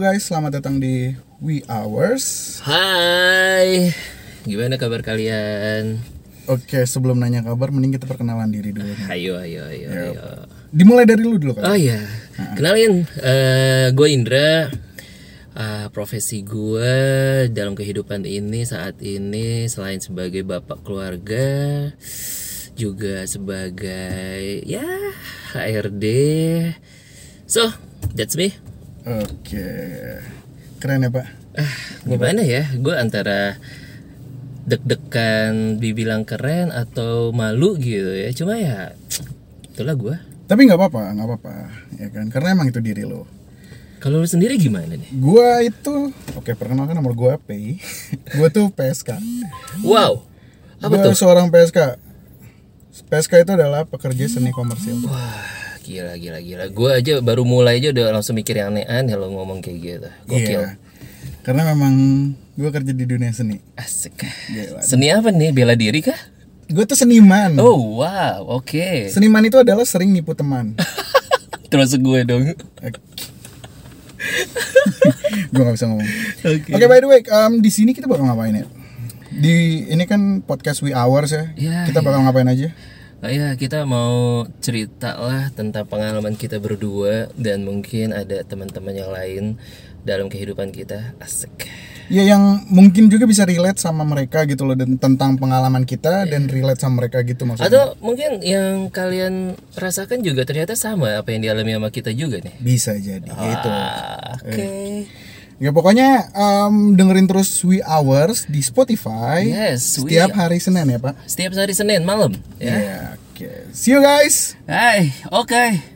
guys, selamat datang di We Hours. Hai, gimana kabar kalian? Oke, sebelum nanya kabar, mending kita perkenalan diri dulu. Ayo, ayo, ayo, ayo. Dimulai dari lu dulu kan? Oh iya, kenalin, eh gue Indra. Ah, profesi gue dalam kehidupan ini saat ini selain sebagai bapak keluarga, juga sebagai ya HRD. So, that's me. Oke, keren ya pak. Ah, gimana ya? Gue antara deg-degan dibilang keren atau malu gitu ya. Cuma ya itulah gue. Tapi nggak apa-apa, nggak apa-apa, ya kan? Karena emang itu diri lo. Kalau lu sendiri gimana nih? Gua itu, oke perkenalkan nomor gua P. gua tuh PSK. Wow. Apa Gua tuh? seorang PSK. PSK itu adalah pekerja seni komersil. Hmm, Wah, gila gila gila. Gue aja baru mulai aja udah langsung mikir yang aneh-aneh lo ngomong kayak gitu. Gokil. Iya. Karena memang gua kerja di dunia seni. Asik. Gila. Seni apa nih? Bela diri kah? Gue tuh seniman. Oh, wow. Oke. Seniman itu adalah sering nipu teman. Terus gue dong. gue gak bisa ngomong. Oke. Oke, by the way, em, di sini kita bakal ngapain ya? Di ini kan podcast We Hours ya. Ya, kita bakal ngapain aja? Oh ya, kita mau cerita lah tentang pengalaman kita berdua dan mungkin ada teman-teman yang lain dalam kehidupan kita. Asik. Ya yang mungkin juga bisa relate sama mereka gitu loh dan tentang pengalaman kita dan relate sama mereka gitu maksudnya. Iya. Atau mungkin yang kalian rasakan juga ternyata sama apa yang dialami sama kita juga nih. Bisa jadi gitu. Ah, Oke. Ya pokoknya em, dengerin terus We Hours di Spotify Yes, we- setiap hari Senin ya, Pak. Ya. Setiap hari Senin malam. Ya, oke. See you guys. Hai, oke.